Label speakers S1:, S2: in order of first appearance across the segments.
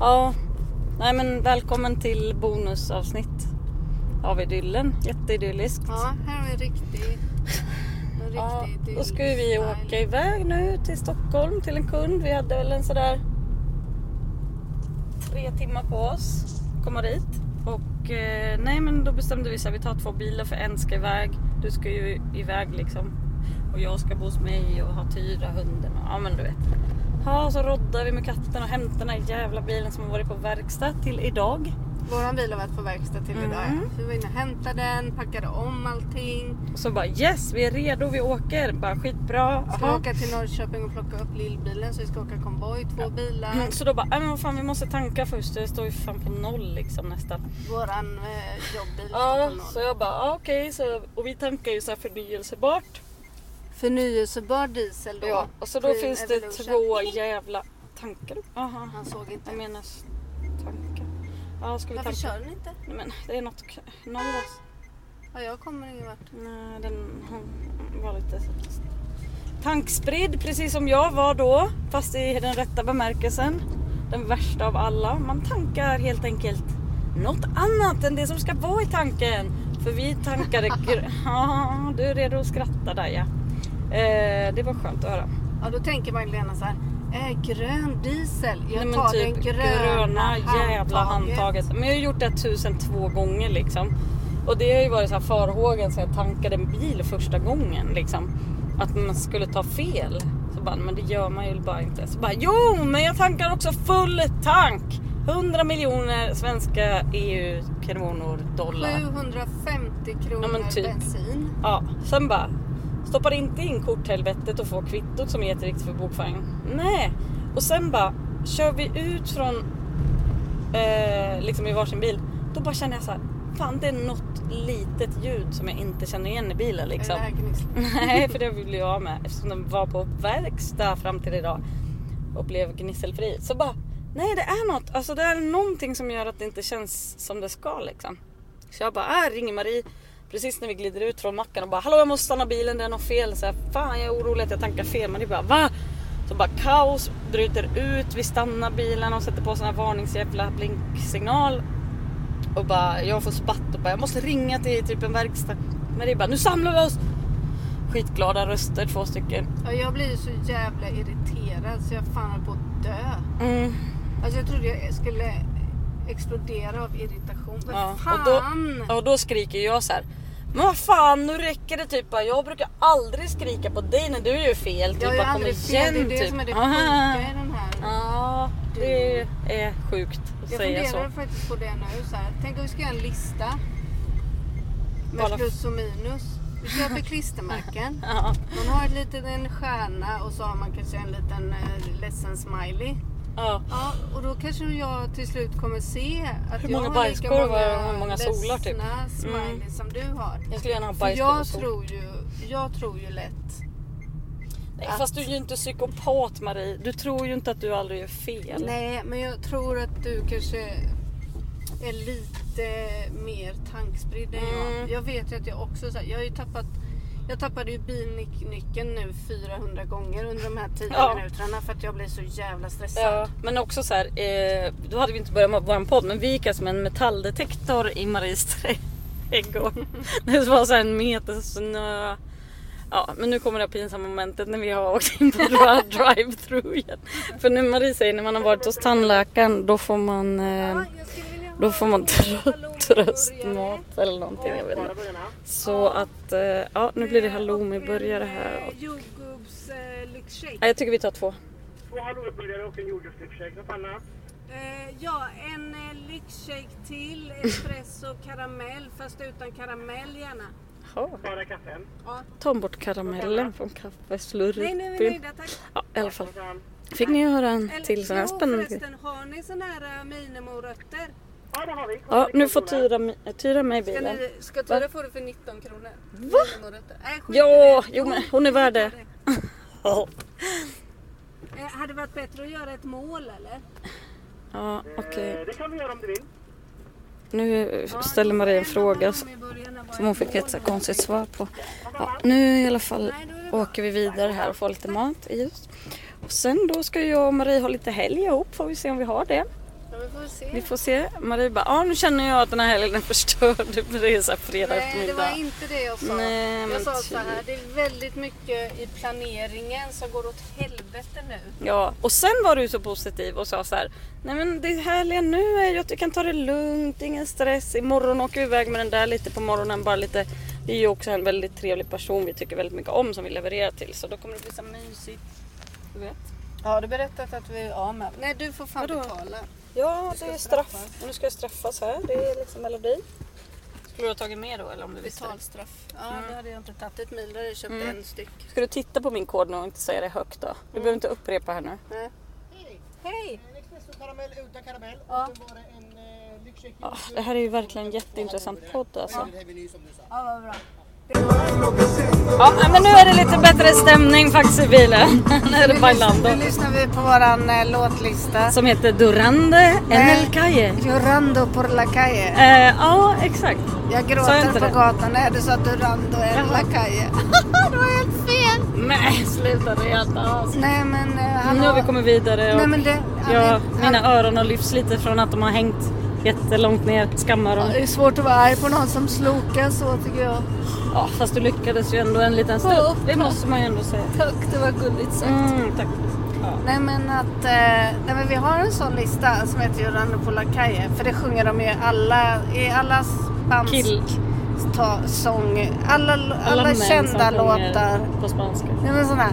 S1: Ja, nej men välkommen till bonusavsnitt av idyllen. Jätteidylliskt.
S2: Ja, här har vi en riktig... En
S1: Ja,
S2: riktig
S1: då ska ju vi
S2: dyl-style.
S1: åka iväg nu till Stockholm till en kund. Vi hade väl en sådär tre timmar på oss att komma dit. Och eh, nej men då bestämde vi så här, vi tar två bilar för en ska iväg. Du ska ju iväg liksom. Och jag ska bo hos mig och ha Tyra, hunden och ja men du vet. Ja, så roddar vi med katten och hämtar den här jävla bilen som har varit på verkstad till idag.
S2: Våran bil har varit på verkstad till
S1: Mm.
S2: idag. Så vi var inne och hämtade den, packade om allting.
S1: Och så bara yes, vi är redo, vi åker. Bara skitbra.
S2: Ska
S1: Jaha.
S2: åka till Norrköping och plocka upp lillbilen så vi ska åka konvoj, två bilar.
S1: Mm, Så då bara, "Nej, men vad fan vi måste tanka först, det står ju fan på noll liksom nästan.
S2: Våran eh, jobbbil
S1: Ja,
S2: står på
S1: så
S2: noll.
S1: jag bara, ah, okej, så, och vi tankar ju så här förnyelsebart.
S2: Förnyelsebar diesel då.
S1: Ja, och så då
S2: Green
S1: finns det
S2: Evolution.
S1: två jävla tankar. Aha,
S2: Han såg inte.
S1: jag menar s- tankar. Ja, ska vi
S2: Varför
S1: tanka?
S2: kör den inte?
S1: Nej men det är något, k- någon last.
S2: Ja, jag kommer ingen vart.
S1: Nej, den hon var lite så- tankspridd precis som jag var då. Fast i den rätta bemärkelsen. Den värsta av alla. Man tankar helt enkelt något annat än det som ska vara i tanken. För vi tankade... gr- Ja, du är redo att skratta där ja. Eh, det var skönt att höra.
S2: Ja, då tänker Magdalena så här. Eh, grön diesel. Jag
S1: Nej, men
S2: tar
S1: typ
S2: den gröna,
S1: jävla handtaget. Men jag har gjort det tusen två gånger liksom. Och det har ju varit så här farhågan sen jag tankade en bil första gången liksom. Att man skulle ta fel. Så bara, men det gör man ju bara inte. Så bara, jo men jag tankar också full tank. 100 miljoner svenska EU-kronor dollar.
S2: 750 kronor
S1: Ja, men typ.
S2: bensin.
S1: Ja, sen bara. Stoppar inte in korthelvetet och får kvittot som är jätteviktigt för bokföringen. Nej. Och sen bara kör vi ut från eh, liksom i varsin bil. Då bara känner jag så här. Fan det är något litet ljud som jag inte känner igen i bilen
S2: Är
S1: liksom.
S2: det här gnisslet?
S1: Nej för det ville jag ha med eftersom den var på verkstad fram till idag. Och blev gnisselfri. Så bara. Nej det är något. Alltså det är någonting som gör att det inte känns som det ska liksom. Så jag bara, äh, ringer Marie precis när vi glider ut från macken och bara hallå jag måste stanna bilen, det är något fel. Så här, Fan jag är orolig att jag tankar fel. Men det är bara va? Så bara kaos bryter ut, vi stannar bilen och sätter på sån här varningsjävla blinksignal. Och bara jag får spatt och bara jag måste ringa till typ en verkstad. Men det är bara nu samlar vi oss. Skitglada röster, två stycken.
S2: Ja, jag blir ju så jävla irriterad så jag fan höll på att dö.
S1: Mm.
S2: Alltså jag trodde jag skulle explodera av irritation. Men
S1: Ja,
S2: fan!
S1: och, då, och då skriker jag så här. Men vad fan nu räcker det typ bara. Jag brukar aldrig skrika på dig när du gör fel. Typ,
S2: jag har ju
S1: bara, "Kom
S2: aldrig fel. Det är det
S1: typ."
S2: som är det
S1: Ah.
S2: sjuka i den här.
S1: Ja, det är sjukt att
S2: Jag
S1: säga så.
S2: funderar faktiskt på det nu. Så här. Tänk om vi ska göra en lista. Med
S1: Kolla.
S2: plus och minus. Vi köper klistermärken.
S1: Ja,
S2: Man har ett litet, en stjärna och så har man kanske en liten eh, ledsen smiley.
S1: ja.
S2: Ja, och då kanske jag till slut kommer se att
S1: Hur
S2: jag
S1: många
S2: har lika
S1: bajskorvar
S2: många,
S1: och hur många solar, typ.
S2: ledsna smileys
S1: Mm.
S2: som du har.
S1: Jag skulle gärna ha
S2: För
S1: bajs
S2: jag tror, ju, jag tror ju lätt.
S1: Nej, Fast du är ju inte psykopat Marie. Du tror ju inte att du aldrig gör fel.
S2: Nej, men jag tror att du kanske är lite mer tankspridd än
S1: Mm.
S2: jag. Jag vet ju att jag också så här, jag har ju tappat jag tappade ju bilnyckeln nu 400 gånger under de här 10
S1: Ja.
S2: minuterna för att jag blir så jävla stressad.
S1: Ja, men också så här, eh, då hade vi inte börjat med vår podd men vi gick alltså med en metalldetektor i Maries trädgård. Det var så här en meter snö. Ja, men nu kommer det här pinsamma momentet när vi har åkt in på dra- drive-through igen. För när Marie säger när man har varit hos tandläkaren då får man, eh, då får man trö- tröstmat eller någonting. Jag vet inte. Så att eh, ja, nu blir det halloumiburgare här.
S2: Eh,
S1: Och,
S2: Jordgubbslyxshake.
S1: nej, jag tycker vi tar två.
S3: Två halloumiburgare och en jordgubbslyxshake. Något annat?
S2: Eh, ja, en eh, lyxshake till, espresso karamell, fast utan karamell gärna.
S1: Ja.
S3: Bara katten?
S1: Ta bort karamellen från
S2: Nej, nu är vi
S1: kaffeslurpen.
S2: nöjda, tack.
S1: Ja, i alla fall.
S3: Och sen-
S1: Fick ni höra en
S2: Eller,
S1: till sån här
S2: jo,
S1: spännande grej?
S2: förresten, har ni sån här eh, minimorötter?
S3: Ja, det har vi.
S1: Ja, nu får Tyra, mi- eh, Tyra med i
S2: Ska,
S1: bilen.
S2: ni, ska Ture få det för 19 kronor? Va? Minimorötter. Nej, skit i
S1: Ja,
S2: det.
S1: jo men hon är värd det. Ja,
S2: Eh, hade det varit bättre att göra ett mål eller?
S1: ja okej.
S3: Eh, Det kan vi göra om du vill.
S1: Nu ställer Maria en fråga som hon fick ett så här konstigt svar på. Ja, nu i alla fall åker vi vidare här och får lite mat i just. Och sen då ska jag och Marie ha lite helg ihop, får vi se om vi har det.
S2: Ja, vi får väl se.
S1: Vi får se. Marie bara, ja nu känner jag att den här helgen är förstörd. För det är så här fredag
S2: Nej, det
S1: eftermiddag.
S2: var inte det jag sa.
S1: Nej, men
S2: jag sa så
S1: typ.
S2: här, det är väldigt mycket i planeringen som går åt helvete nu.
S1: Ja, och sen var du så positiv och sa så här. Nej men det härliga nu är ju att vi kan ta det lugnt, ingen stress. Imorgon åker vi iväg med den där lite på morgonen. Bara lite. Det är ju också en väldigt trevlig person vi tycker väldigt mycket om som vi levererar till. Så då kommer det bli så här mysigt. Du vet.
S2: Ja, har du berättat att vi är av med Nej, du får fan
S1: Vadå?
S2: betala.
S1: Ja,
S2: ska
S1: det är straff.
S2: straffas.
S1: Och nu ska jag straffas här. Det är liksom melodin. Skulle du ha tagit med då eller om du visste? det?
S2: Betalstraff. Ja, då hade jag inte tagit ett mil, då hade jag köpt
S1: Mm.
S2: en styck.
S1: Ska du titta på min kod nu och inte säga det högt då? Du behöver inte upprepa här nu.
S2: Nej.
S4: Hej!
S2: Hej!
S4: En espresso karamell utan karamell
S2: Ja.
S4: och sen var det en eh, lyxshake
S1: Ah, det här är ju verkligen en jätteintressant podd alltså.
S4: Väldigt heavy ny som du sa.
S2: Ja, vad bra.
S1: Ja, men nu är det lite bättre stämning faktiskt i bilen. nu är det Bailando.
S2: Nu lyssnar vi på våran eh, låtlista.
S1: Som heter Durande
S2: Nej.
S1: en Calle.
S2: Llorando por la calle.
S1: Eh, ja, exakt.
S2: Jag
S1: Sa jag
S2: gråter
S1: inte
S2: på
S1: det?
S2: gatan. Nej, du sa att du rann då en la calle. det var helt fel!
S1: Nej, sluta det är helt as.
S2: Nej, men eh, han
S1: Nu har vi kommit vidare.
S2: Nej,
S1: Och
S2: men det... han
S1: jag,
S2: är- han-
S1: mina öron har lyfts lite från att de har hängt jättelångt ner. Skammar
S2: Ja,
S1: dem.
S2: Det är svårt att vara arg på någon som slokar så tycker jag.
S1: Ja, fast du lyckades ju ändå en liten stund. Det måste man ju ändå säga.
S2: Tack, det var gulligt sagt.
S1: Mm, tack.
S2: Nej men att, eh, nej men vi har en sån lista som heter Jorando på la calle. För det sjunger de ju alla, i alla bands
S1: Kill.
S2: ta, sång, alla, alla,
S1: män som
S2: kända
S1: sjunger
S2: låtar.
S1: På spanska.
S2: Nej men sådana,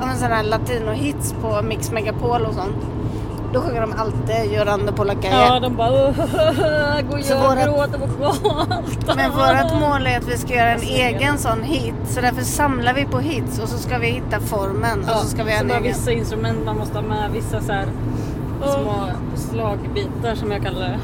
S2: ja men sådana latinohits på Mix Megapol och sånt. Då sjunger de alltid Jorando på la calle.
S1: Ja, de bara... Gå och
S2: Så
S1: gör,
S2: vårat-
S1: gråter på gatan.
S2: Men vårt mål är att vi ska göra en
S1: Jag ser det.
S2: egen sån hit. Så därför samlar vi på hits och så ska vi hitta formen. och så ska vi göra en
S1: bara
S2: egen.
S1: vissa instrument man måste ha med, vissa så här små slagbitar som jag kallar det.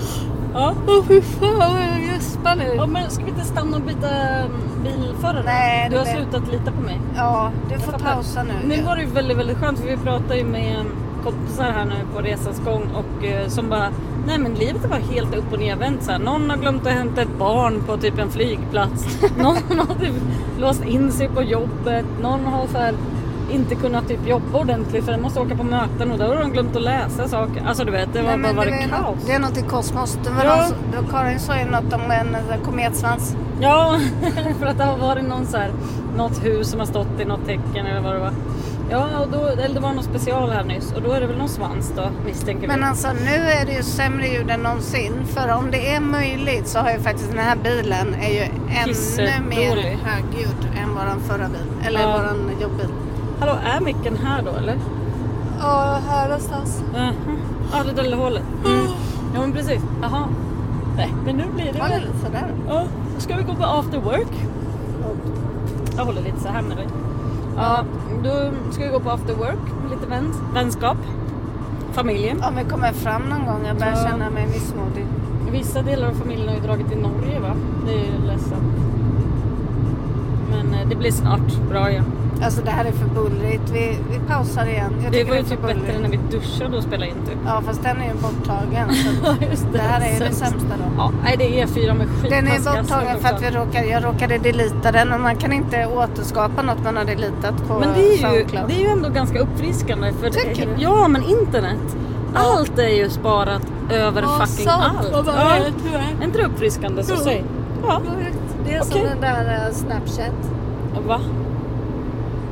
S1: Ja.
S2: Åh fy fan vad jag gäspar nu.
S1: ja, men ska vi inte stanna och byta mm, bilförare?
S2: Nej,
S1: du
S2: det
S1: har
S2: blir-
S1: slutat lita på mig.
S2: Ja, du
S1: Jag
S2: får
S1: fattar.
S2: pausa nu.
S1: Nu
S2: Ja.
S1: var det ju väldigt, väldigt skönt för vi pratade ju med kompisar här nu på resans gång och eh, som bara Nej men livet är bara helt upp och nervänt så här. Någon har glömt att hämta ett barn på typ en flygplats. Någon har typ låst in sig på jobbet. Någon har så här inte kunnat typ jobba ordentligt för den måste åka på möten och då har de glömt att läsa saker. Alltså du vet, det var
S2: Nej,
S1: bara
S2: men
S1: varit
S2: det var
S1: kaos.
S2: något- Det är något i kosmos. Det var
S1: Ja.
S2: någon som- det var Karin sa ju något om en eh, kometsvans.
S1: Ja, för att det har varit någon så här, något hus som har stått i något tecken eller vad det var. Ja, och då, eller det var någon special här nyss och då är det väl någon svans då misstänker
S2: Men
S1: vi.
S2: alltså nu är det ju sämre ljud än någonsin. För om det är möjligt så har ju faktiskt den här bilen är ju ännu mer
S1: Pissdålig.
S2: högljudd än våran förra bil. Eller
S1: Ja.
S2: våran jobbbil.
S1: Hallå, är micken här då eller?
S2: Ja, här någonstans.
S1: Jaha. Ja, det där hålet. Mm. Ja, men precis. Jaha. Nej, men nu blir det
S2: Ja,
S1: väl.
S2: lite sådär.
S1: Ja, då ska vi gå på after work. Jag håller lite så här med dig. Ja, då ska vi gå på after work. Lite vän, vänskap. Familjen.
S2: Om vi kommer fram någon gång. Jag börjar
S1: Ja.
S2: känna mig missmodig.
S1: Vissa delar av familjen har ju dragit till Norge va? Det är ju ledsamt. Men eh, det blir snart bra igen.
S2: Alltså det här är för bullrigt. Vi, vi pausar igen. Jag
S1: Det
S2: tycker
S1: var ju
S2: är
S1: typ
S2: för bullrigt.
S1: bättre när vi duschade och spelade in typ.
S2: Ja fast den är ju borttagen. Så
S1: Ja, just
S2: det här är ju det
S1: Sämst.
S2: sämsta då.
S1: Ja, nej det är E4 med skittaskiga
S2: Den är borttagen
S1: snögubbar.
S2: för att vi råkar, jag råkade delita den och man kan inte återskapa något man har delitat på
S1: Men det är, ju,
S2: Soundcloud.
S1: det är ju ändå ganska uppfriskande. För
S2: Tycker du?
S1: Ja, men internet. Allt är ju sparat över fucking allt. Ja. Är inte det uppfriskande? Så
S2: Jo.
S1: säg. Ja.
S2: Det är som
S1: Okej.
S2: den där eh, Snapchat.
S1: Va?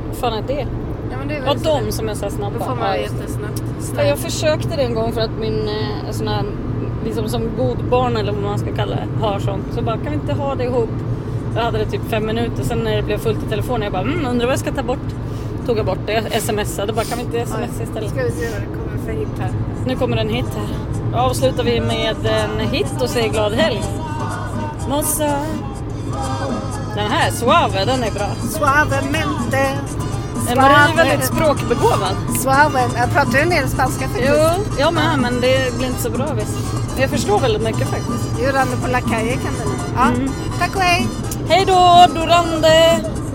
S1: Vad fan är det?
S2: Ja, men det är
S1: Ja,
S2: väl så
S1: de
S2: det-
S1: som är så här snabba.
S2: Då
S1: Ja,
S2: får man
S1: just det.
S2: jättesnabbt.
S1: Ja, jag försökte det en gång för att min eh, sån här, liksom som god barn eller vad man ska kalla det, har sånt. Så bara, kan vi inte ha det ihop? Så hade det typ fem minuter. Sen när det blev fullt i telefonen, jag bara, mm, undrar vad jag ska ta bort. Tog jag bort det, jag smsade bara, kan vi inte smsa istället?
S2: Ska vi se vad det kommer för hit här.
S1: Nu kommer en hit här. Då avslutar vi med en hit och säger glad helg. Mossa. Den här, Suave, den är bra.
S2: Suavemente.
S1: Eh, Marie är väldigt språkbegåvad.
S2: Suave. Jag pratar ju en del spanska faktiskt.
S1: Jo, jag med, men det blir inte så bra visst. Jag förstår väldigt mycket faktiskt. Mm.
S2: Jurande på la calle kan den. Ja. Tack och hej.
S1: Hej då, Dorande!